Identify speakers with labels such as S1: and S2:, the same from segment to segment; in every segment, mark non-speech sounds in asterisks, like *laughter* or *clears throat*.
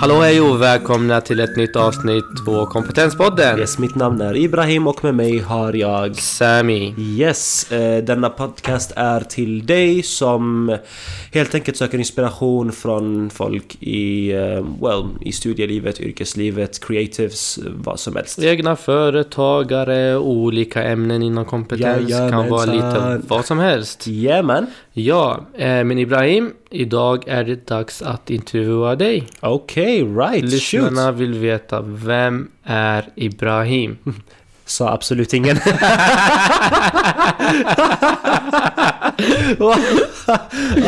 S1: Hallå hej och välkomna till ett nytt avsnitt på Kompetenspodden.
S2: Yes, mitt namn är Ibrahim och med mig har jag
S1: Sami.
S2: Yes, eh, denna podcast är till dig som helt enkelt söker inspiration från folk i, eh, well, i studielivet, yrkeslivet, creatives, eh, vad som helst.
S1: Egna företagare, olika ämnen inom kompetens kan vara lite
S2: Jajamensan.
S1: vad som helst.
S2: Yeah man!
S1: Ja, eh, men Ibrahim, idag är det dags att intervjua dig.
S2: Okej, right,
S1: Lyssnarna
S2: shoot!
S1: vill veta, vem är Ibrahim?
S2: Sa absolut ingen. *laughs*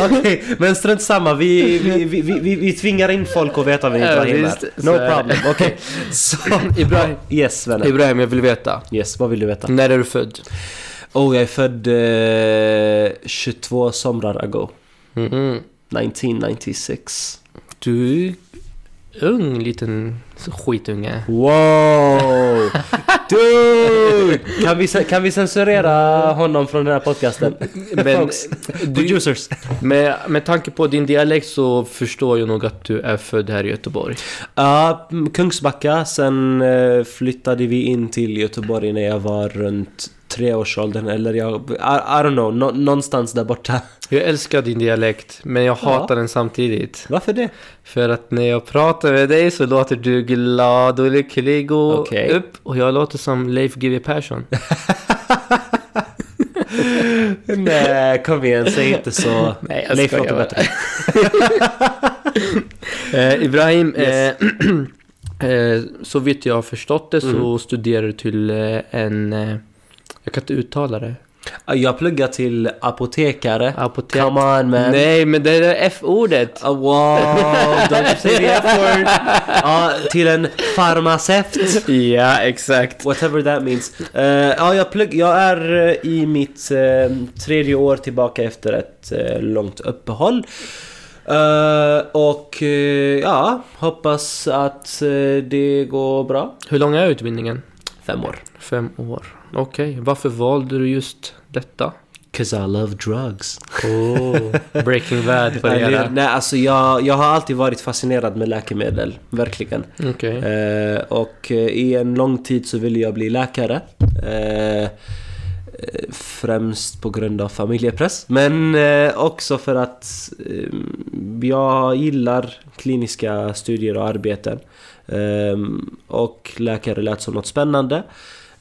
S2: Okej, men strunt samma. Vi, vi, vi, vi, vi, vi tvingar in folk att veta vem
S1: Ja,
S2: Ibrahim är.
S1: visst, så
S2: No
S1: är det.
S2: problem, okej. Så, *laughs*
S1: Ibrahim,
S2: yes vänner.
S1: Ibrahim, jag vill veta.
S2: Yes, vad vill du veta?
S1: När är du född?
S2: Oh, jag är född eh, 22 somrar ago. Mm-hmm.
S1: Mhm.
S2: 1996.
S1: Du är ung liten skitunge.
S2: Wow! Dude! Kan vi, se- kan vi censurera honom från den här podcasten?
S1: Men,
S2: Folks.
S1: du,
S2: Producers.
S1: med, med tanke på din dialekt så förstår jag nog att du är född här i Göteborg.
S2: Ja, mm, Kungsbacka. Sen eh, flyttade vi in till Göteborg när jag var runt treårsåldern. Eller jag... I, I don't know. Nå- någonstans där borta. *laughs*
S1: Jag älskar din dialekt, men jag
S2: Ja.
S1: hatar den samtidigt.
S2: Varför det?
S1: För att när jag pratar med dig så låter du glad och lycklig och
S2: Okej.
S1: upp. Och jag låter som Leif GW Persson.
S2: Nej, kom igen. Säg inte så.
S1: *laughs* Nej, jag
S2: Leif
S1: skojar
S2: låter
S1: bara.
S2: bättre.
S1: *laughs* Eh, Ibrahim, eh, *clears throat* eh, så vitt jag har förstått det så studerar du till eh, en... Eh, jag kan inte uttala det.
S2: Jag pluggar till apotekare.
S1: Apotek.
S2: Come on man.
S1: Nej, men det är F-ordet.
S2: Ah, wow, don't say
S1: *laughs*
S2: the F word. Ja, till en farmaceut.
S1: Ja, exakt.
S2: Whatever that means. Eh, ja, jag, plugg, jag är eh, i mitt eh, tredje år tillbaka efter ett eh, långt uppehåll. Eh, och eh, ja, hoppas att eh, det går bra.
S1: Hur lång är utbildningen?
S2: Fem år.
S1: Fem år. Okej, varför valde du just detta?
S2: 'Cause I love drugs. *laughs*
S1: Oh, Breaking Bad på det
S2: Eller,
S1: hela.
S2: nej, alltså jag, jag har alltid varit fascinerad med läkemedel. Verkligen.
S1: Okej.
S2: Eh, och eh, i en lång tid så ville jag bli läkare. Eh, eh, Främst på grund av familjepress. Men eh, också för att eh, jag gillar kliniska studier och arbeten. Eh, Och läkare lät som något spännande.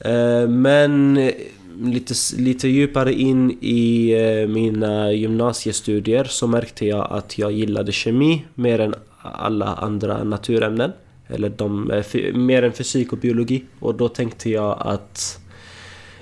S2: Eh, Men eh, lite, s- lite djupare in i eh, mina gymnasiestudier så märkte jag att jag gillade kemi mer än alla andra naturämnen. Eller de, eh, fy- mer än fysik och biologi. Och då tänkte jag att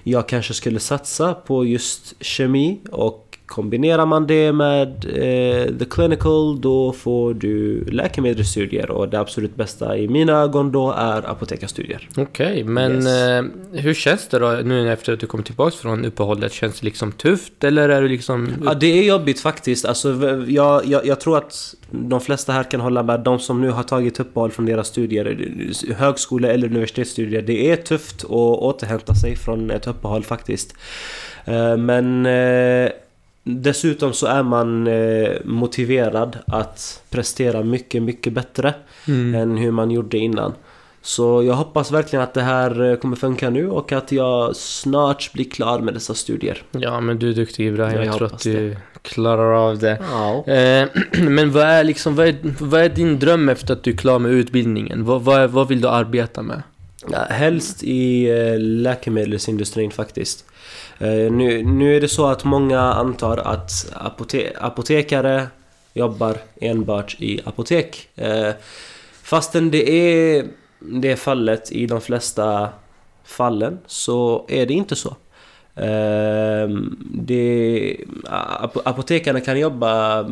S2: jag kanske skulle satsa på just kemi och kombinerar man det med eh, the clinical då får du läkemedelsstudier och det absolut bästa i mina ögon då är apotekarstudier.
S1: Okej, men
S2: Yes.
S1: eh, hur känns det då nu efter att du kom tillbaka från uppehållet? Känns det liksom tufft eller är du liksom...
S2: Ja, det är jobbigt faktiskt. Alltså, v- jag, jag, jag tror att de flesta här kan hålla med. De som nu har tagit uppehåll från deras studier, högskole eller universitetsstudier. Det är tufft att återhämta sig från ett uppehåll faktiskt. Eh, Men eh, dessutom så är man eh, motiverad att prestera mycket, mycket bättre
S1: Mm.
S2: än hur man gjorde innan. Så jag hoppas verkligen att det här eh, kommer funka nu och att jag snart blir klar med dessa studier.
S1: Ja, men du är duktig Ibrahim.
S2: Ja,
S1: Jag,
S2: jag
S1: tror att
S2: hoppas
S1: du klarar av det.
S2: Ja.
S1: Eh, *clears throat* men vad är, liksom, vad, är, vad är din dröm efter att du är klar med utbildningen? Vad, vad, är- vad vill du arbeta med?
S2: Ja, helst i eh, läkemedelsindustrin faktiskt. Eh, Nu, nu är det så att många antar att apote apotekare jobbar enbart i apotek. Eh, Fastän det är det fallet i de flesta fallen så är det inte så. Eh, Det, ap- apotekarna kan jobba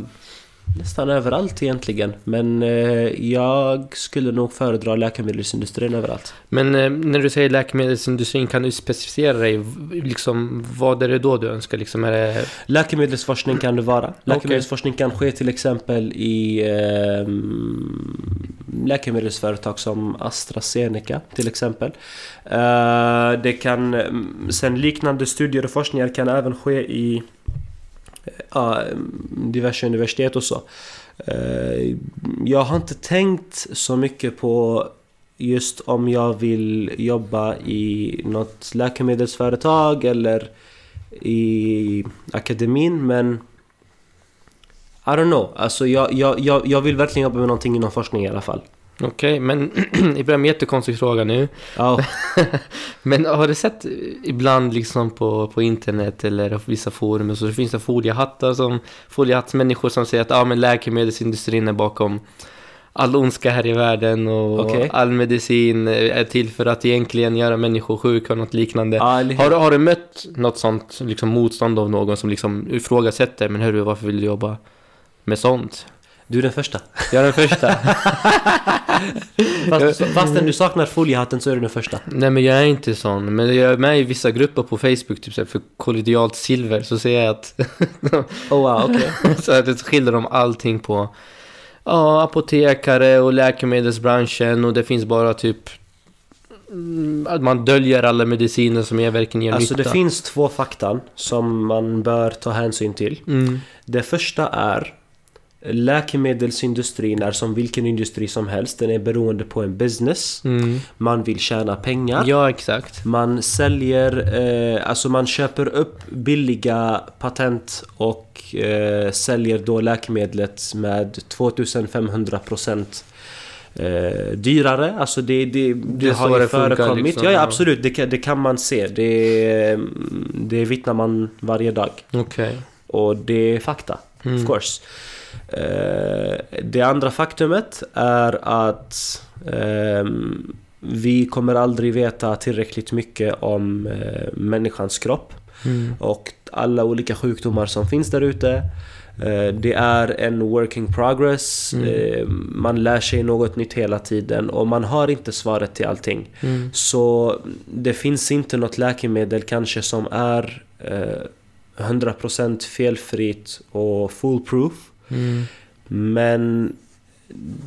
S2: nästan överallt egentligen men eh, jag skulle nog föredra läkemedelsindustrin överallt.
S1: Men eh, när du säger läkemedelsindustrin, kan du specificera dig? V- Liksom, vad är det då du önskar? Liksom, är det...
S2: Läkemedelsforskning kan det vara. Läkemedelsforskning kan ske till exempel i ehm, läkemedelsföretag som AstraZeneca till exempel. Eh, det kan, mm, sen liknande studier och forskningar kan även ske i ja, diverse universitet och så. Eh, Jag har inte tänkt så mycket på just om jag vill jobba i något läkemedelsföretag eller i akademin men I don't know. Alltså jag, jag, jag, jag vill verkligen jobba med någonting inom forskning i alla fall.
S1: Okej, men *clears throat* Ibrahim, jättekonstig fråga nu.
S2: Ja,
S1: Men har du sett ibland liksom på, på internet eller på vissa forum och så finns det foliehattar som, foliehattsmänniskor som säger att ah, men läkemedelsindustrin är bakom all ondska här i världen och
S2: Okej.
S1: all medicin är till för att egentligen göra människor sjuka och något liknande.
S2: *laughs* ja, eller hur?
S1: Har, du- har du mött något sånt liksom motstånd av någon som liksom ifrågasätter men hörru varför vill du jobba med sånt?
S2: Du är den första.
S1: Jag
S2: *laughs*
S1: är den första.
S2: Fast, fastän du saknar foliehatten så är du den första.
S1: Nej men jag är inte sån, men jag är med i vissa grupper på Facebook, typ så här, för kollodialt silver, så ser jag att, *laughs*
S2: Oh wow, okej.
S1: så att det skiljer de allting på ja, apotekare och läkemedelsbranschen och det finns bara typ mm, att man döljer alla mediciner som jag verkligen gör
S2: Alltså det
S1: nytta.
S2: finns två faktan som man bör ta hänsyn till.
S1: mm.
S2: Det första är läkemedelsindustrin är som vilken industri som helst. Den är beroende på en business.
S1: Mm.
S2: Man vill tjäna pengar.
S1: Ja, exakt.
S2: Man säljer, eh, alltså man köper upp billiga patent och eh, säljer då läkemedlet med 2500% eh, dyrare. Alltså det, det, det
S1: är så
S2: har ju
S1: det funkar
S2: förekommit.
S1: liksom,
S2: ja, ja,
S1: ja.
S2: absolut. Det, kan- det kan man se. Det, eh, det vittnar man varje dag.
S1: Okej.
S2: Och det är fakta, of course. Eh, Det andra faktumet är att ehm, vi kommer aldrig veta tillräckligt mycket om eh, människans kropp
S1: Mm.
S2: och alla olika sjukdomar som finns där ute. Eh, Det är en working progress. Eh, Man lär sig något nytt hela tiden och man har inte svaret till allting.
S1: Mm.
S2: Så det finns inte något läkemedel kanske som är eh, 100% felfritt och foolproof.
S1: Mm.
S2: Men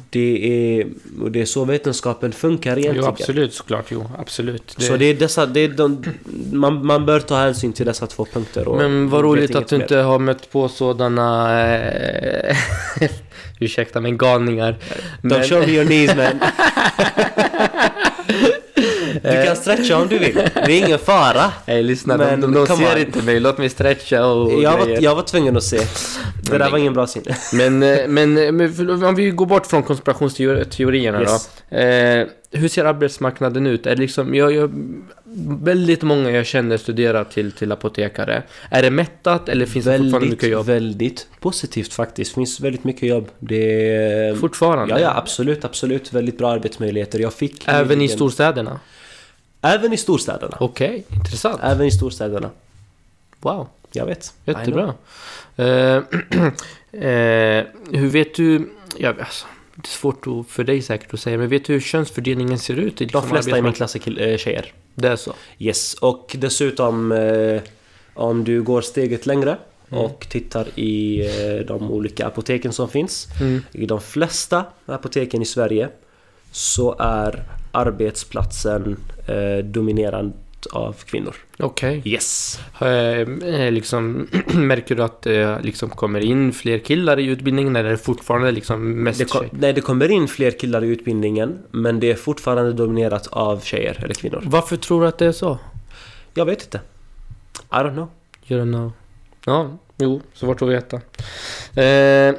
S2: det är, och det är så vetenskapen funkar
S1: Jo,
S2: egentligen.
S1: absolut såklart. Jo, absolut.
S2: Så det är dessa, det är de, man, man bör ta hänsyn till dessa två punkter. och
S1: Men vad
S2: vet
S1: roligt
S2: inget
S1: att du
S2: mer.
S1: inte har mött på sådana... Eh, *laughs* ursäkta, men galningar.
S2: Don't
S1: Men,
S2: show me your knees man.
S1: *laughs*
S2: du kan stretcha om du vill. Det är ingen fara.
S1: Hey, lyssna,
S2: Men,
S1: de, de, de
S2: come
S1: ser
S2: on.
S1: inte mig. Låt mig stretcha och
S2: Jag var,
S1: grejer.
S2: jag var tvungen att se. Det där var ingen bra syn.
S1: Men, eh, men, eh, men för- om vi går bort från konspirationsteorierna
S2: Yes.
S1: då. Eh, hur ser arbetsmarknaden ut? Är det liksom, jag, jag, väldigt många jag känner studerar till, till apotekare. Är det mättat eller finns det fortfarande
S2: Väldigt,
S1: mycket jobb?
S2: väldigt positivt faktiskt. finns väldigt mycket jobb. Det är...
S1: Fortfarande?
S2: Ja, ja, absolut, absolut. Väldigt bra arbetsmöjligheter. Jag fick
S1: Även i
S2: nyligen-
S1: storstäderna?
S2: Även i storstäderna.
S1: Okej, intressant.
S2: Även i storstäderna.
S1: Wow.
S2: Jag vet. I know.
S1: Jättebra. Eh, *clears throat* eh, hur vet du... Ja, alltså, det är svårt att- för dig säkert att säga, men vet du hur könsfördelningen ser ut? I
S2: De flesta i min
S1: arbetsmarknaden?
S2: klass är kill- eh, tjejer.
S1: Det är så?
S2: Yes, och dessutom eh, om du går steget längre
S1: Mm.
S2: och tittar i eh, de olika apoteken som finns.
S1: Mm.
S2: I de flesta apoteken i Sverige så är arbetsplatsen eh, dominerad av kvinnor.
S1: Okej.
S2: Yes!
S1: Eh, liksom, *clears throat* märker du att det liksom kommer in fler killar i utbildningen eller är det fortfarande liksom mest
S2: Det kom,
S1: tjejer?
S2: nej, det kommer in fler killar i utbildningen men det är fortfarande dominerat av tjejer eller kvinnor.
S1: Varför tror du att det är så?
S2: Jag vet inte. I don't know.
S1: You don't know. Ja, jo, svårt att veta. Eh,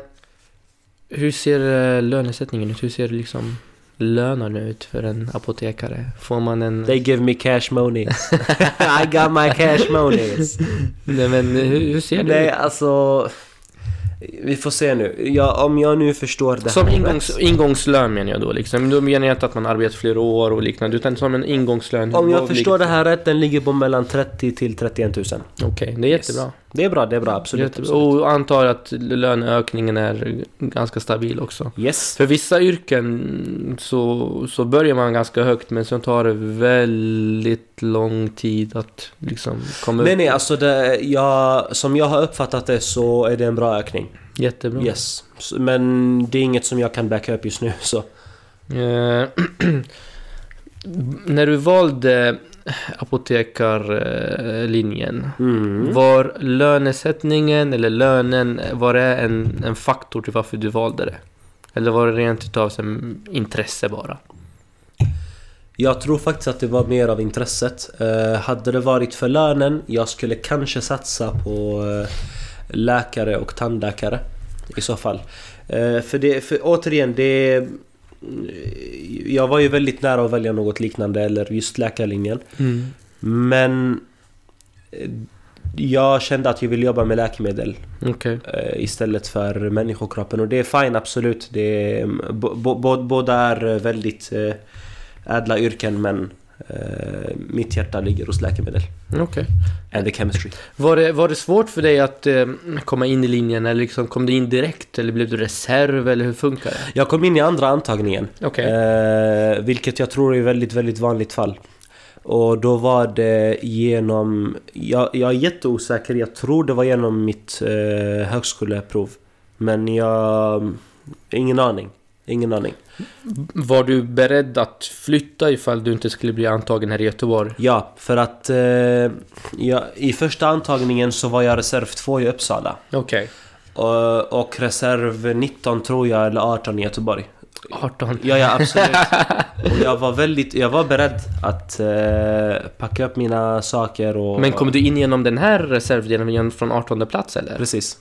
S1: hur ser eh, lönesättningen ut? Hur ser liksom lönen ut för en apotekare? Får man en...
S2: They give me cash money. *laughs* I got my
S1: *laughs*
S2: cash money.
S1: Nej men hur, hur ser det
S2: Nej,
S1: ut?
S2: alltså... Vi får se nu. Ja, om jag nu förstår det
S1: Som
S2: här
S1: ingångs,
S2: rätt.
S1: ingångslön menar jag då liksom. Då menar jag inte att man arbetar flera år och liknande utan som en ingångslön.
S2: Om jag
S1: Vad
S2: förstår det
S1: ligger-
S2: här rätt, den ligger på mellan 30 till 31 000.
S1: Okej, det är
S2: Yes.
S1: jättebra.
S2: Det är bra, det är bra. Absolut.
S1: Jättebra.
S2: absolut.
S1: Och antar att löneökningen är ganska stabil också.
S2: Yes.
S1: För vissa yrken så, så börjar man ganska högt men sen tar det väldigt lång tid att liksom komma
S2: Nej,
S1: upp.
S2: nej, alltså det, jag, som jag har uppfattat det så är det en bra ökning.
S1: Jättebra.
S2: Yes. Så- Men det är inget som jag kan
S1: *clears throat*
S2: backa upp just nu så.
S1: Eh, när du valde apotekarlinjen.
S2: Mm.
S1: Var lönesättningen eller lönen, var det en, en faktor till varför du valde det? Eller var det rent utav som intresse bara?
S2: Jag tror faktiskt att det var mer av intresset. Eh, hade det varit för lönen, jag skulle kanske satsa på eh, läkare och tandläkare i så fall. Eh, för, det, för återigen, det... eh, Jag var ju väldigt nära att välja något liknande, eller just läkarlinjen. Men eh, jag kände att jag ville jobba med läkemedel
S1: Okej.
S2: eh, istället för människokroppen. Och det är fine, absolut. Det är, mm, bo- bo- bo- båda är eh, väldigt eh, ädla yrken men eh, mitt hjärta ligger hos läkemedel.
S1: Okej.
S2: And the chemistry.
S1: Var, det, var det svårt för dig att eh, komma in i linjen eller liksom kom du in direkt eller blev du reserv eller hur funkar det?
S2: Jag kom in i andra antagningen.
S1: Okej.
S2: Eh, vilket jag tror är väldigt, väldigt vanligt fall. Och då var det genom... Jag, jag är jätteosäker, jag tror det var genom mitt eh, högskoleprov. Men jag... mm, Ingen aning. Ingen aning.
S1: Var du beredd att flytta ifall du inte skulle bli antagen här i Göteborg?
S2: Ja, för att eh, jag, i första antagningen så var jag reserv 2 i Uppsala.
S1: Okej.
S2: Och, och reserv 19 tror jag, eller 18 i Göteborg.
S1: 18.
S2: Ja, ja
S1: *laughs*
S2: absolut. Och jag var väldigt, jag var beredd att eh, packa upp mina saker och...
S1: Men kom du in genom den här reservdelen från 18 plats eller?
S2: Precis.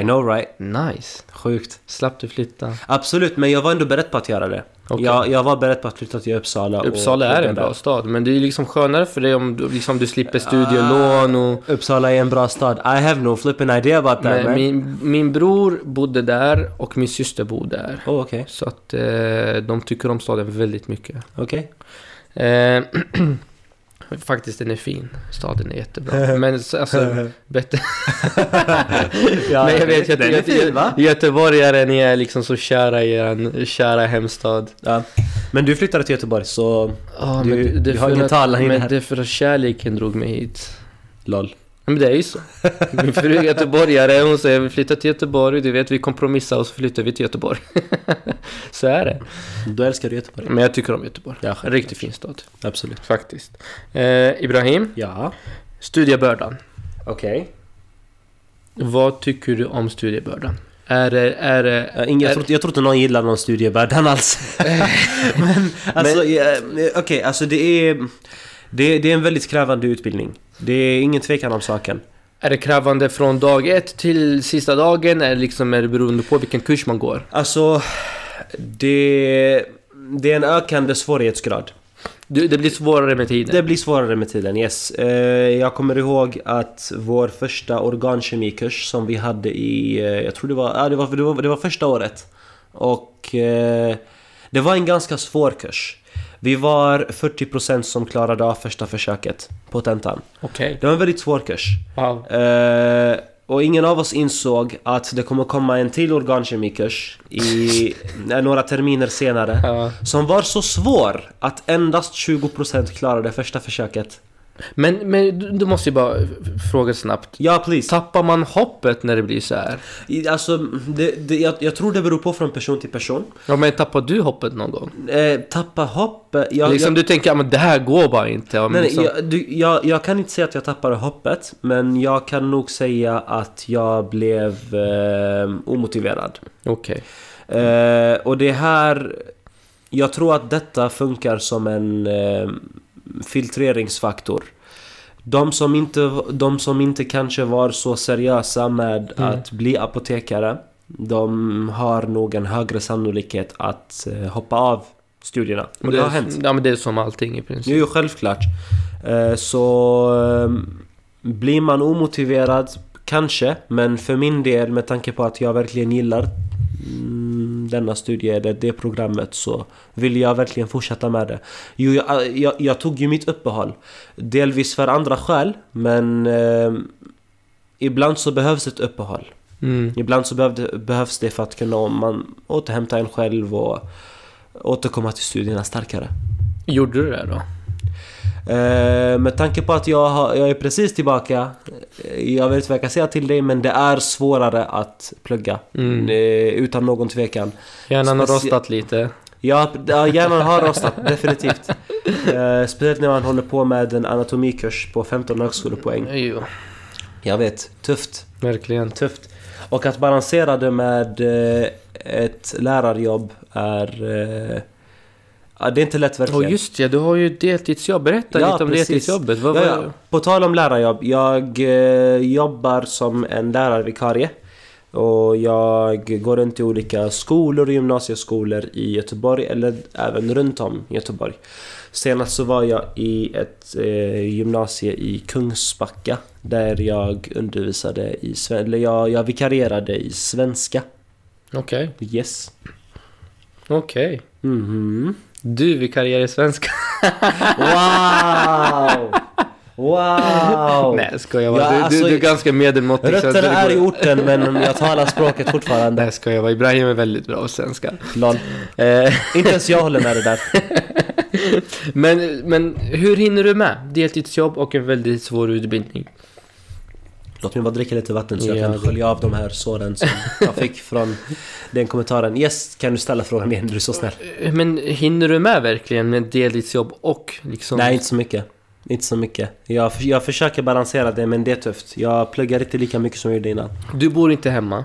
S2: I know right.
S1: Nice.
S2: Sjukt.
S1: Slapp du flytta?
S2: Absolut, men jag var ändå beredd på att göra det.
S1: Okej.
S2: Jag, jag var beredd på att flytta till Uppsala. och
S1: Uppsala är
S2: plugga
S1: en
S2: där.
S1: bra stad, men det är ju liksom skönare för dig om du, liksom, du slipper studielån och...
S2: Uppsala är en bra stad. I have no flipping idea about that
S1: Men
S2: man.
S1: min, min bror bodde där och min syster bor där.
S2: Oh, okej.
S1: Så att eh, de tycker om staden väldigt mycket.
S2: Okej.
S1: Eh, *clears throat* faktiskt, den är fin. Staden är *laughs* jättebra. Men så- alltså, bättre... *laughs*
S2: Ja,
S1: Men jag vet,
S2: den är
S1: Göte-
S2: fin, va?
S1: göteborgare, ni är liksom så kära i er kära hemstad.
S2: Ja. Men du flyttade till Göteborg så...
S1: Ja,
S2: Du-
S1: men det är
S2: du har
S1: för
S2: ingen
S1: att-
S2: talan i det
S1: Men
S2: här.
S1: det är för att kärleken drog mig hit.
S2: LOL.
S1: Ja, Men det är ju *laughs* så. Min fru är göteborgare, hon säger vi flyttar till Göteborg, du vet vi kompromissar och så flyttar vi till Göteborg. *laughs* så är det.
S2: Då älskar du Göteborg.
S1: Men jag tycker om Göteborg.
S2: Ja,
S1: En riktigt fin stad.
S2: absolut.
S1: Faktiskt. Eh, Ibrahim,
S2: Ja.
S1: studiebördan.
S2: Okej.
S1: Vad tycker du om studiebördan? Är det... Är det
S2: Ja, ingen- Eh, Jag, tror, inte- jag tror inte någon gillar någon studievärlden *laughs* alls. men alltså, ja, okej, alltså det är, det är... Det är en väldigt krävande utbildning. Det är ingen tvekan om saken.
S1: Är det krävande från dag ett till sista dagen? Är det, liksom, är det beroende på vilken kurs man går?
S2: Alltså, det... Det är en ökande svårighetsgrad.
S1: Du, det blir svårare med tiden.
S2: Det blir svårare med tiden, yes. Eh, jag kommer ihåg att vår första organkemikurs som vi hade i, eh, jag tror det var, ja, det, var, det, var det var första året. Och eh, det var en ganska svår kurs. Vi var 40% som klarade av första försöket på tentan.
S1: Okej.
S2: Det var en väldigt svår kurs.
S1: Wow.
S2: Eh, och ingen av oss insåg att det kommer komma en till organkemikurs i eh, några terminer senare.
S1: Ja.
S2: Som var så svår att endast 20% klarade första försöket.
S1: Men, men du, du måste ju bara f- fråga snabbt.
S2: Ja, please.
S1: Tappar man hoppet när det blir så här?
S2: I- Alltså, det, det, jag, jag tror det beror på från person till person.
S1: Ja men tappar du hoppet någon gång?
S2: Eh, tappa hopp... eh, Jag,
S1: liksom du tänker, ja men det här går bara inte. Ja, men
S2: jag, nej, nej,
S1: liksom,
S2: jag, du, jag, jag kan inte säga att jag tappade hoppet, men jag kan nog säga att jag blev eh, omotiverad.
S1: Okej.
S2: Eh, och det här... Jag tror att detta funkar som en eh, filtreringsfaktor. De som, inte, de som inte kanske var så seriösa med
S1: Mm.
S2: att bli apotekare De har nog en högre sannolikhet att eh, hoppa av studierna. Och det, har hänt.
S1: Ja men det är som allting i princip.
S2: Jo, jo, självklart. Eh, så eh, blir man omotiverad, kanske. Men för min del, med tanke på att jag verkligen gillar mm, denna studie eller det programmet så vill jag verkligen fortsätta med det. Jo, jag, jag, jag tog ju mitt uppehåll. Delvis för andra skäl, men eh, ibland så behövs ett uppehåll.
S1: Mm.
S2: Ibland så behövde, behövs det för att kunna man, återhämta en själv och återkomma till studierna starkare.
S1: Gjorde du det då?
S2: Eh, med tanke på att jag, har, jag är precis tillbaka, eh, jag vet inte vad jag kan säga till dig men det är svårare att plugga.
S1: Mm.
S2: Eh, utan någon tvekan.
S1: Hjärnan har
S2: Specie-
S1: rostat lite.
S2: Ja, ja, hjärnan har rostat, *laughs* definitivt. Eh, speciellt när man håller på med en anatomikurs på 15 högskolepoäng.
S1: Jo,
S2: Jag vet, tufft.
S1: verkligen.
S2: Tufft. Och att balansera det med eh, ett lärarjobb är... eh, ja, det är inte lätt verkligen.
S1: Och just ja, du har ju deltidsjobb. Berätta
S2: Ja,
S1: lite om
S2: precis.
S1: deltidsjobbet. Vad
S2: Ja,
S1: var
S2: ja. På tal om lärarjobb. Jag eh, jobbar som en lärarvikarie. Och jag går runt i olika skolor och gymnasieskolor i Göteborg eller även runt om Göteborg. Senast så var jag i ett eh, gymnasie i Kungsbacka där jag undervisade i sven- eller jag, jag vikarierade i svenska.
S1: Okej,
S2: Yes.
S1: okej.
S2: Mhm.
S1: Du vikarierar i svenska.
S2: Wow!
S1: *laughs*
S2: Wow!
S1: Nej, skojar bara.
S2: Ja,
S1: du,
S2: alltså,
S1: du, du är ganska medelmåttig. så att
S2: Rötterna
S1: det
S2: är i
S1: går-
S2: orten men jag talar språket fortfarande. *laughs*
S1: Nej, skojar bara. Ibrahim är väldigt bra på svenska.
S2: Lol.
S1: Eh,
S2: Inte ens jag håller med det där.
S1: men, men hur hinner du med? Deltidsjobb och en väldigt svår utbildning.
S2: Låt mig bara dricka lite vatten så jag
S1: Ja,
S2: kan
S1: det-
S2: skölja av de här såren som jag fick från den kommentaren. Yes, kan du ställa frågan igen? Du är så snäll.
S1: Eh, Men hinner du med verkligen med deltidsjobb och liksom...
S2: Nej, inte så mycket. Inte så mycket. Jag, jag försöker balansera det men det är tufft. Jag pluggar inte lika mycket som jag gjorde innan.
S1: Du bor inte hemma?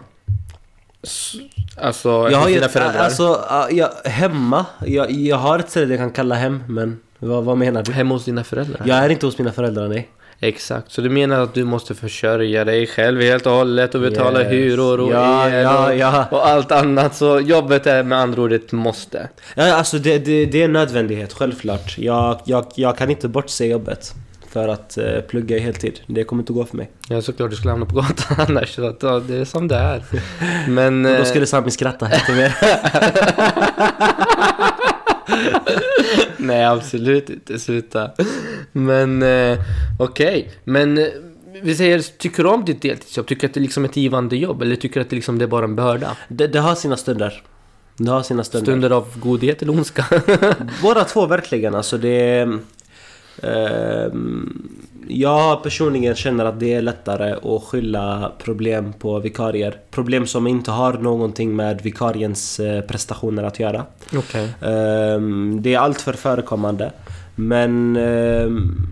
S1: S- Alltså, jag
S2: Jag har
S1: hos
S2: ju
S1: dina
S2: ett,
S1: föräldrar?
S2: alltså, äh, jag, hemma. Jag, jag har ett ställe jag kan kalla hem men vad, vad menar du?
S1: Hemma hos dina föräldrar?
S2: Jag är inte hos mina föräldrar nej.
S1: Exakt, så du menar att du måste försörja dig själv helt och hållet och betala
S2: Yes.
S1: hyror och
S2: Ja,
S1: el
S2: ja,
S1: och,
S2: ja.
S1: och allt annat. Så jobbet är med andra ord ett måste.
S2: Ja, alltså det, det, det är en nödvändighet, självklart. Jag, jag, jag kan inte bortse jobbet för att eh, plugga i heltid. Det kommer inte gå för mig.
S1: Ja, såklart du skulle hamna på gatan *laughs* annars. Så att, ja, det är som det är.
S2: *laughs*
S1: Men...
S2: Och
S1: eh,
S2: då skulle Sami skratta lite mer. *laughs*
S1: Nej, absolut inte. Sluta. Men eh, okej, men eh, vi säger, tycker du om ditt deltidsjobb? Tycker du att det är liksom ett givande jobb? Eller tycker du att det, liksom, det är bara en börda?
S2: Det, det har sina stunder. Det har sina stunder.
S1: Stunder av godhet eller ondska? *laughs*
S2: Båda två verkligen. Alltså det... Eh, jag personligen känner att det är lättare att skylla problem på vikarier. Problem som inte har någonting med vikariens eh, prestationer att göra.
S1: Okej.
S2: Ehm, Det är allt för förekommande. Men ehm,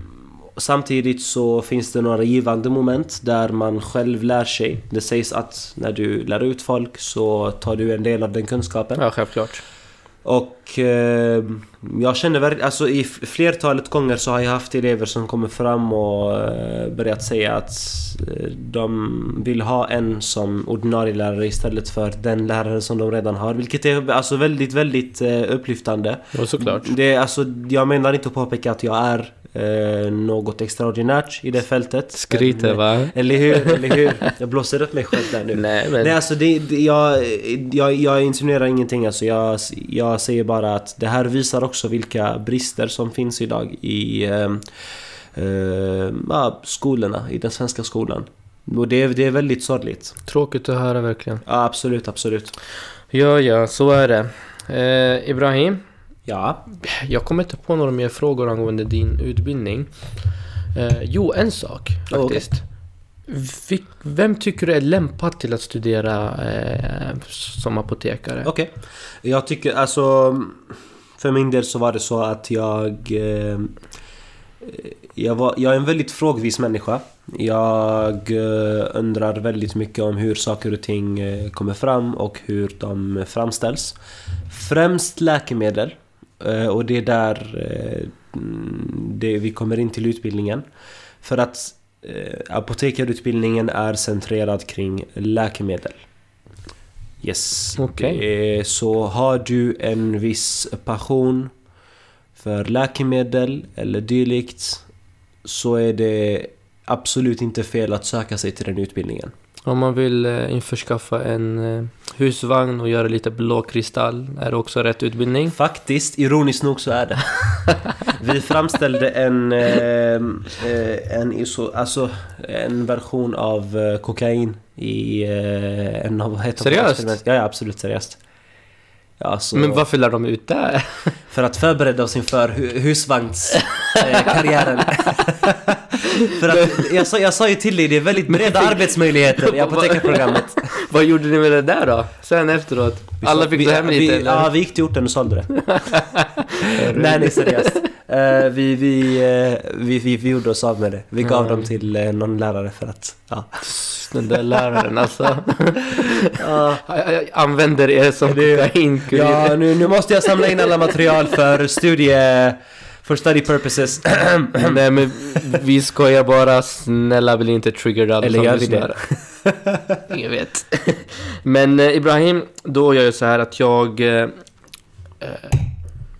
S2: samtidigt så finns det några givande moment där man själv lär sig. Det sägs att när du lär ut folk så tar du en del av den kunskapen.
S1: Ja, självklart.
S2: Och ehm, jag känner verkligen, alltså i f- flertalet gånger så har jag haft elever som kommer fram och eh, börjat säga att eh, de vill ha en som ordinarie lärare istället för den lärare som de redan har. Vilket är alltså väldigt, väldigt eh, upplyftande.
S1: Ja, såklart.
S2: Det är alltså, jag menar inte att påpeka att jag är eh, något extraordinärt i det fältet. eh,
S1: Skryter va?
S2: Eller hur? Eller hur? Jag blåser upp mig själv där nu.
S1: Nej, men...
S2: Nej alltså det, det, jag, jag, jag insinuerar ingenting alltså. Jag, jag säger bara att det här visar också vilka brister som finns idag i eh, eh, ja, skolorna, i den svenska skolan. Och det, är- det är väldigt sorgligt.
S1: Tråkigt att höra verkligen.
S2: Ja, absolut, absolut.
S1: Ja, ja, så är det. Eh, Ibrahim,
S2: Ja.
S1: jag kommer inte på några mer frågor angående din utbildning. Eh, jo, en sak
S2: Oh,
S1: faktiskt. Vil- Vem tycker du är lämpad till att studera eh, som apotekare?
S2: Okej. Jag tycker alltså... För min del så var det så att jag... Eh, jag, var, jag är en väldigt frågvis människa. Jag eh, undrar väldigt mycket om hur saker och ting eh, kommer fram och hur de framställs. Främst läkemedel. eh, Och det är där eh, mm, det, vi kommer in till utbildningen. För att eh, apotekarutbildningen är centrerad kring läkemedel. Yes.
S1: Okej.
S2: Det är- Så har du en viss passion för läkemedel eller dylikt så är det absolut inte fel att söka sig till den utbildningen.
S1: Om man vill eh, införskaffa en eh, husvagn och göra lite blåkristall, är det också rätt utbildning?
S2: Faktiskt, ironiskt nog så
S1: *laughs*
S2: är det. Vi framställde en, eh, eh, en, iso, alltså, en version av eh, kokain i eh, en av... ett av våra
S1: Seriöst?
S2: experiment. Ja, ja, absolut seriöst. Ja, alltså,
S1: Men varför lär de ut det? *laughs*
S2: För att förbereda oss inför hu- husvagnskarriären. Eh, karriären. För att jag sa, jag sa ju till dig, det är väldigt breda
S1: *laughs*
S2: arbetsmöjligheter i apotekarprogrammet.
S1: *laughs* Vad gjorde ni med det där då? Sen efteråt? Alla fick gå hem
S2: vi,
S1: lite eller?
S2: Ja, vi gick till orten och sålde det. *laughs* nej, nej seriöst. Eh, vi, vi, eh, vi, vi, vi gjorde oss av med det. Vi gav
S1: Mm.
S2: dem till eh, någon lärare för att... Ja.
S1: Den där läraren alltså.
S2: *laughs*
S1: Jag- jag Använder er som
S2: Det-
S1: kokainkurir.
S2: Ja, nu, nu måste jag samla in alla material för studie... För study purposes.
S1: *clears throat*
S2: *clears throat*
S1: Nej men vi skojar bara, snälla bli inte triggered alla
S2: Eller
S1: som
S2: gör vi
S1: lyssnar. Ingen vet. *laughs* Men eh, Ibrahim, då gör jag så här att jag eh, eh,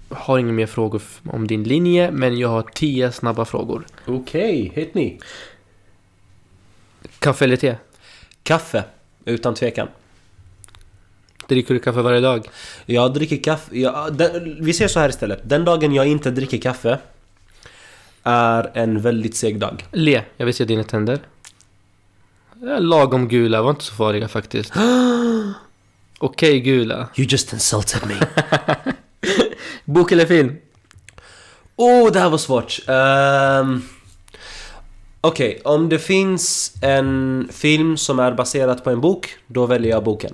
S1: har inga mer frågor f- om din linje, men jag har tio snabba frågor.
S2: *laughs* Okej, hit ni.
S1: Kaffe eller te?
S2: Kaffe, utan tvekan.
S1: Dricker du kaffe varje dag?
S2: Jag dricker kaffe... Jag, den, vi ser så här istället. Den dagen jag inte dricker kaffe är en väldigt seg dag.
S1: Le, jag vill se dina tänder. Ja, Lagom gula, var inte så farliga faktiskt. *gasps* Okej gula.
S2: You just insulted me. *laughs*
S1: Bok eller film?
S2: Åh, Oh, det här var svårt. Ehm, Okej, om det finns en film som är baserad på en bok, då väljer jag boken.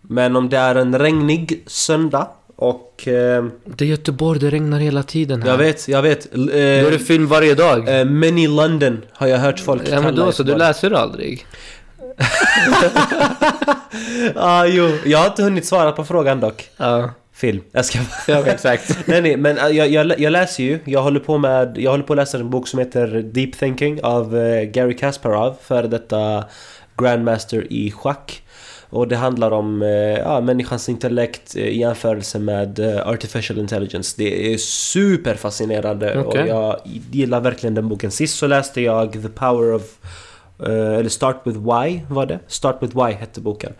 S2: Men om det är en regnig söndag och... ehm,
S1: Det är Göteborg, det regnar hela tiden här.
S2: jag vet, jag vet. L-
S1: Då
S2: eh,
S1: är det film varje dag.
S2: eh, Mini London har jag hört folk
S1: Ja men då så, du
S2: Göteborg.
S1: läser aldrig?
S2: ah, jo. Jag har inte hunnit svara på frågan dock.
S1: Ja,
S2: Film. Jag ska
S1: ja exakt.
S2: Nej, nej, men eh, jag, jag, lä- jag läser ju. Jag håller på med, jag håller på att läsa en bok som heter Deep Thinking av eh, Gary Kasparov, före detta grandmaster i schack. Och det handlar om eh, ja, människans intellekt eh, i jämförelse med eh, artificial intelligence. Det är superfascinerande
S1: Okej.
S2: och jag gillar verkligen den boken. Sist så läste jag The Power of eh, eller Start with Why var det. Start with Why hette boken.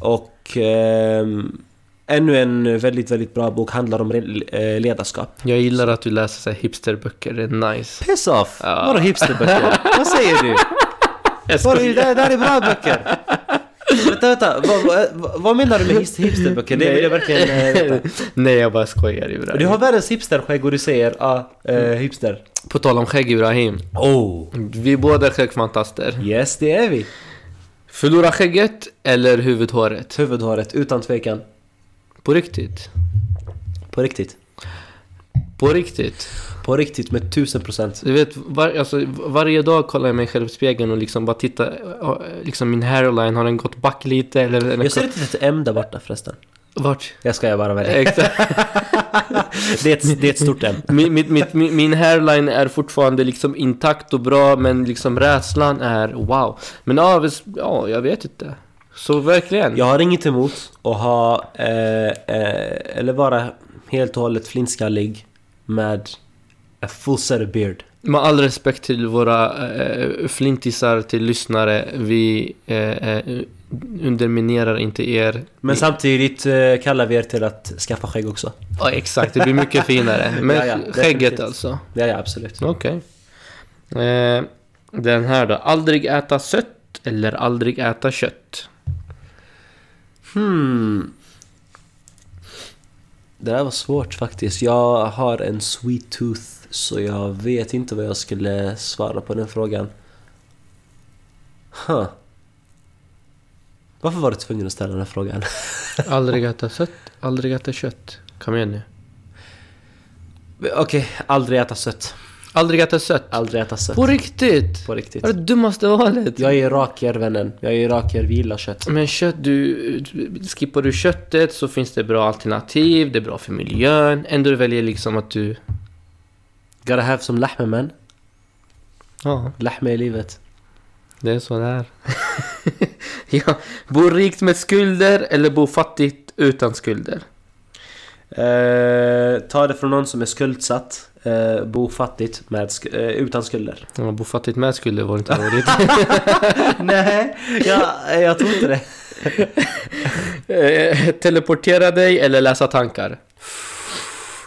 S2: Och ehm, ännu en eh, väldigt, väldigt bra bok handlar om re- eh, ledarskap.
S1: *laughs* Jag gillar att du läser så här hipsterböcker, det är nice.
S2: Piss off!
S1: Ja.
S2: Vadå hipsterböcker? Vad säger du?
S1: Jag
S2: Vadå, det, här- det här är bra böcker! Vänta, vänta. Vad, vad, vad- vad menar du med his- hipsterböcker? Det vill jag verkligen eh, veta.
S1: Nej jag bara skojar Ibrahim.
S2: Du har världens hipsterskägg och du säger ja, eh, hipster.
S1: På tal om skägg Ibrahim.
S2: Oh!
S1: Vi är båda skäggfantaster.
S2: Yes, det är vi.
S1: Förlora skägget eller huvudhåret?
S2: Huvudhåret, utan tvekan.
S1: På riktigt?
S2: På riktigt.
S1: På riktigt?
S2: På riktigt med tusen procent.
S1: Du vet, var, alltså, varje dag kollar jag mig själv i spegeln och liksom bara tittar. ja, Liksom min hairline, har den gått back lite eller? eller
S2: Jag ser ett litet M där borta förresten.
S1: Vart?
S2: Jag skojar bara med dig.
S1: Exakt.
S2: Det är ett, det är ett stort M.
S1: Min, mitt- mitt- min, min hairline är fortfarande liksom intakt och bra men liksom rädslan är wow. Men ja, vis- ja jag vet inte. Så verkligen.
S2: Jag har inget emot att ha, eh, eh, eller vara helt och hållet flintskallig med a full set of beard.
S1: Med all respekt till våra eh, flintisar, till lyssnare. Vi eh, eh, underminerar inte er.
S2: Men samtidigt eh, kallar vi er till att skaffa skägg också.
S1: Ja, exakt, det blir mycket
S2: *laughs*
S1: finare. Men
S2: Ja, ja,
S1: skägget
S2: definitivt.
S1: alltså.
S2: Ja, ja absolut.
S1: Okej. Eh, den här då. Aldrig äta sött eller aldrig äta kött?
S2: Hmm. Det där var svårt faktiskt. Jag har en sweet tooth så jag vet inte vad jag skulle svara på den frågan. Huh. Varför var du tvungen att ställa den här frågan?
S1: Aldrig äta sött, aldrig äta kött. Kom igen nu.
S2: Okej, aldrig äta sött.
S1: Aldrig äta sött?
S2: Aldrig äta sött.
S1: På riktigt?
S2: På riktigt.
S1: Det är det dummaste valet.
S2: Jag är irakier vännen. Jag är irakier, vi gillar kött.
S1: Men kött, du, skippar du köttet så finns det bra alternativ, det är bra för miljön. Ändå du väljer liksom att du...
S2: Gotta have some lahme man.
S1: Ja,
S2: Lahme i livet.
S1: det är så det är. *laughs* ja, bo rikt med skulder eller bo fattigt utan skulder?
S2: Eh, ta det från någon som är skuldsatt. Eh, bo fattigt med sk- eh, utan skulder.
S1: Ja, bo fattigt med skulder var *laughs* inte roligt.
S2: *laughs* Nej, jag, jag tror inte det.
S1: Eh, Teleportera dig eller läsa tankar?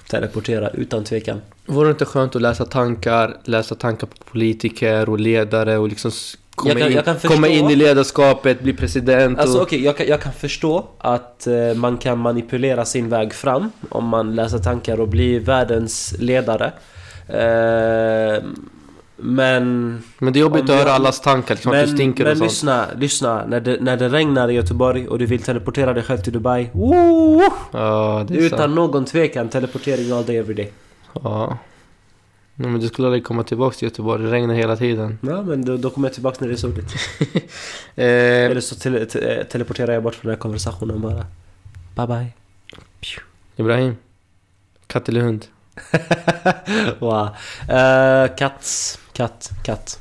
S2: Teleportera utan tvekan.
S1: Vore det inte skönt att läsa tankar, läsa tankar på politiker och ledare och liksom s- komma,
S2: Jag kan-
S1: in,
S2: jag kan förstå.
S1: komma in i ledarskapet, bli president
S2: Alltså
S1: och...
S2: okej, jag, kan- jag kan förstå att eh, man kan manipulera sin väg fram om man läser tankar och blir världens ledare. Eh, Men
S1: Men det är jobbigt
S2: Om
S1: att höra
S2: jag-
S1: allas tankar, liksom att
S2: men,
S1: du stinker
S2: men
S1: och sånt.
S2: lyssna, lyssna. När det, när det regnar i Göteborg och du vill teleportera dig själv till Dubai. Woo!
S1: Ja, det är
S2: Utan
S1: sant.
S2: någon tvekan, teleportering all day every day.
S1: Ja. Nej, men du skulle aldrig komma tillbaka till Göteborg, det regnar hela tiden.
S2: Ja, men då, då kommer jag tillbaka när det är soligt.
S1: Eh,
S2: Eller så tele, te, teleporterar jag bort från den här konversationen bara.
S1: *laughs*
S2: Bye bye.
S1: Ibrahim. Katt eller hund?
S2: wow. Eh, katt, katt, katt.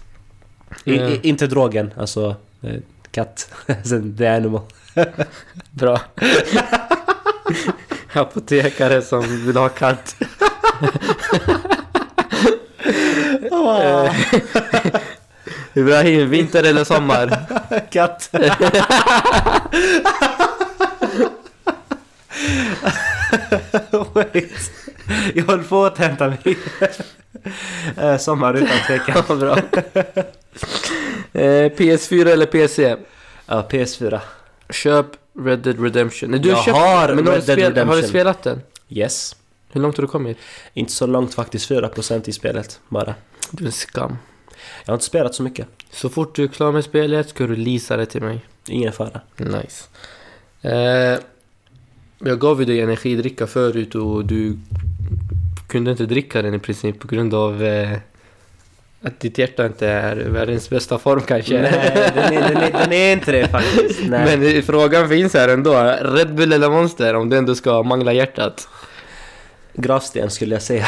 S2: I,
S1: Ja.
S2: i, inte drogen, alltså eh, katt. *laughs* Sen the animal.
S1: Bra. *laughs* Apotekare som vill ha katt. Eh, Ibrahim, vinter eller sommar?
S2: *laughs* katt. Wait. Jag höll på att hämta mig. Eh, Sommar utan tvekan.
S1: Ja, bra. Eh, PS4 eller E? PC?
S2: Ja, PS4.
S1: Köp Red Dead Redemption. Nej, du
S2: Jag
S1: har köpt,
S2: har
S1: men
S2: Red
S1: har du
S2: Dead
S1: spel-
S2: Redemption.
S1: Har du spelat den?
S2: Yes.
S1: Hur långt har du kommit?
S2: Inte så långt faktiskt, 4% i spelet bara.
S1: Du är en skam.
S2: Jag har inte spelat så mycket.
S1: Så fort du är klar med spelet ska du leasa det till mig.
S2: Ingen fara.
S1: Nice. Eh, jag gav ju dig energidricka förut och du kunde inte dricka den i princip på grund av eh, att ditt hjärta inte är världens bästa form kanske.
S2: Nej, den är, den är, den är inte det
S1: *laughs*
S2: faktiskt. Nej.
S1: Men eh, frågan finns här ändå. Red Bull eller Monster om du ändå ska mangla hjärtat?
S2: Gravsten skulle jag säga.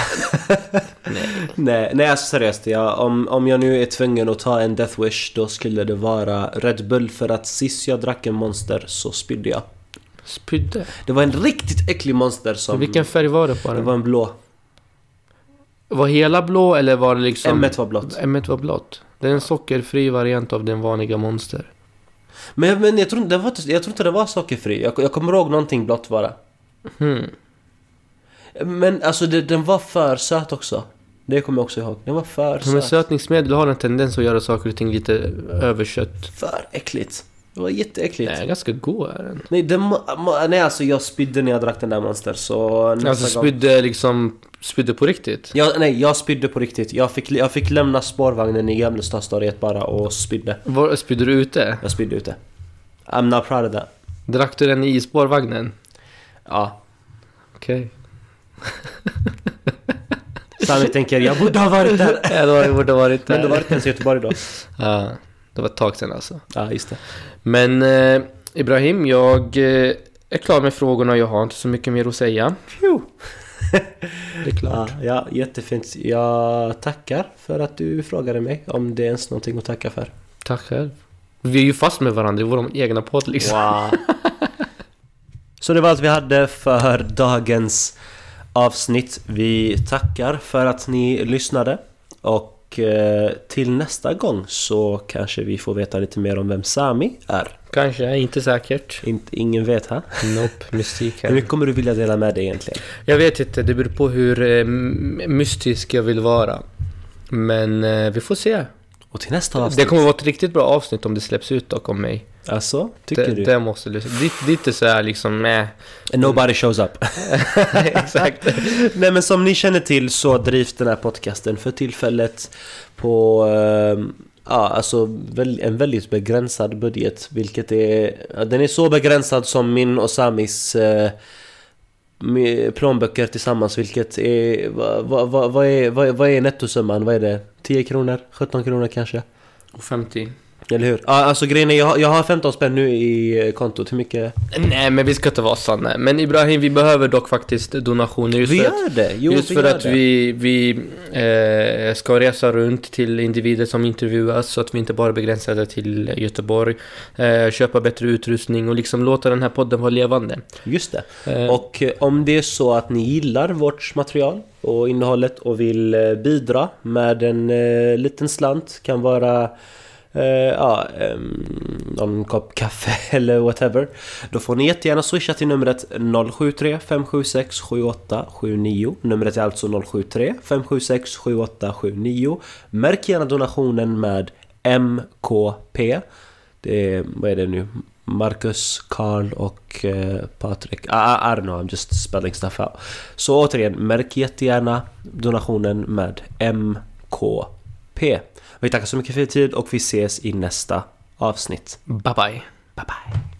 S2: nej, nej alltså seriöst. Ja, om, om jag nu är tvungen att ta en Death Wish då skulle det vara Red Bull för att sist jag drack en monster så spydde jag.
S1: Spydde?
S2: Det var en riktigt äcklig monster som...
S1: Vilken färg var det på
S2: Det
S1: den?
S2: var
S1: Var...
S2: en blå.
S1: hela blå eller var det liksom...
S2: M1 var blått.
S1: M1 var blått. Det är en sockerfri variant av den vanliga Monster.
S2: Men, men jag, tror, inte- den var, inte- jag tror inte den var sockerfri. Jag, jag kommer ihåg någonting blått bara.
S1: Hmm.
S2: Men alltså det, den var för söt också. Det kommer jag också ihåg. Den var för
S1: Ja, Men
S2: söt.
S1: sötningsmedel har en tendens att göra saker och ting lite överkött.
S2: För äckligt. Det var jätteäckligt.
S1: Nej, ganska god är den.
S2: Nej, den, må- må- nej alltså jag spydde när jag drack den där Monster så nästa
S1: Alltså
S2: gång...
S1: spydde liksom, spydde på riktigt.
S2: Jag, nej, jag spydde på riktigt. Jag fick, jag fick lämna spårvagnen i Gamla stadstorget bara och spydde.
S1: Var, spydde du ute?
S2: Jag spydde ute. I'm not proud of that.
S1: Drack du den i spårvagnen?
S2: Ja.
S1: Okej.
S2: Sami tänker jag borde ha
S1: *laughs*
S2: varit där.
S1: Okay. det var- det borde varit
S2: Men du var
S1: där.
S2: inte ens i Göteborg då.
S1: Ja, det var ett tag sedan alltså.
S2: Eh, *laughs* Ja, just det.
S1: Men eh, Ibrahim, jag eh, är klar med frågorna. Jag har inte så mycket mer att säga.
S2: Phew.
S1: *laughs* Det är klart.
S2: Ja, ja, jättefint. Jag tackar för att du frågade mig om det är ens någonting att tacka för.
S1: Tack själv. Vi är ju fast med varandra i vår egna podd liksom.
S2: Wow. Så det var allt vi hade för dagens avsnitt. Vi tackar för att ni lyssnade och eh, till nästa gång så kanske vi får veta lite mer om vem Sami är.
S1: Kanske, inte säkert.
S2: Inte, ingen vet här.
S1: Nope, mystik
S2: Hur
S1: här.
S2: mycket kommer du vilja dela med dig egentligen?
S1: Jag vet inte, det beror på hur eh, m- mystisk jag vill vara. Men eh, vi får se.
S2: Och till nästa avsnitt?
S1: Det kommer vara ett riktigt bra avsnitt om det släpps ut dock om mig.
S2: Alltså, tycker
S1: det,
S2: du?
S1: det måste du lyssna. Ditt, ditt är så här liksom med.
S2: Nobody shows up.
S1: *laughs*
S2: *laughs*
S1: Exakt.
S2: Nej men som ni känner till så drivs den här podcasten för tillfället på eh, ja, alltså väl- en väldigt begränsad budget. Vilket är, ja, den är så begränsad som min och Samis eh, mi- plånböcker tillsammans. Vilket är, vad va, va, vad är, vad är, vad är nettosumman? Vad är det? 10 kronor? 17 kronor kanske?
S1: Och 50.
S2: Eller hur? Ja, alltså grejen är, jag, har- jag har 15 spänn nu i eh, kontot. Hur mycket?
S1: Nej men vi ska inte vara såna. Men Ibrahim, vi behöver dock faktiskt donationer. Just
S2: vi
S1: för att-
S2: gör det! Jo,
S1: Just
S2: vi
S1: för
S2: gör
S1: att
S2: det.
S1: vi, vi eh, ska resa runt till individer som intervjuas så att vi inte bara är begränsade till Göteborg. Eh, köpa bättre utrustning och liksom låta den här podden vara levande.
S2: Just det.
S1: Eh,
S2: Och eh, om det är så att ni gillar vårt material och innehållet och vill eh, bidra med en eh, liten slant kan vara eh, ja, ehm, någon kopp kaffe *laughs* eller whatever. Då får ni jättegärna swisha till numret 073 576 7879. Numret är alltså 073 576 7879. Märk gärna donationen med MKP. Det är, vad är det nu? Marcus, Karl och eh, Patrik. Ah, I don't know, I'm just spelling stuff out. Så återigen, märk jättegärna donationen med MKP. P. Vi tackar så mycket för er tid och vi ses i nästa avsnitt.
S1: Bye bye. Bye bye.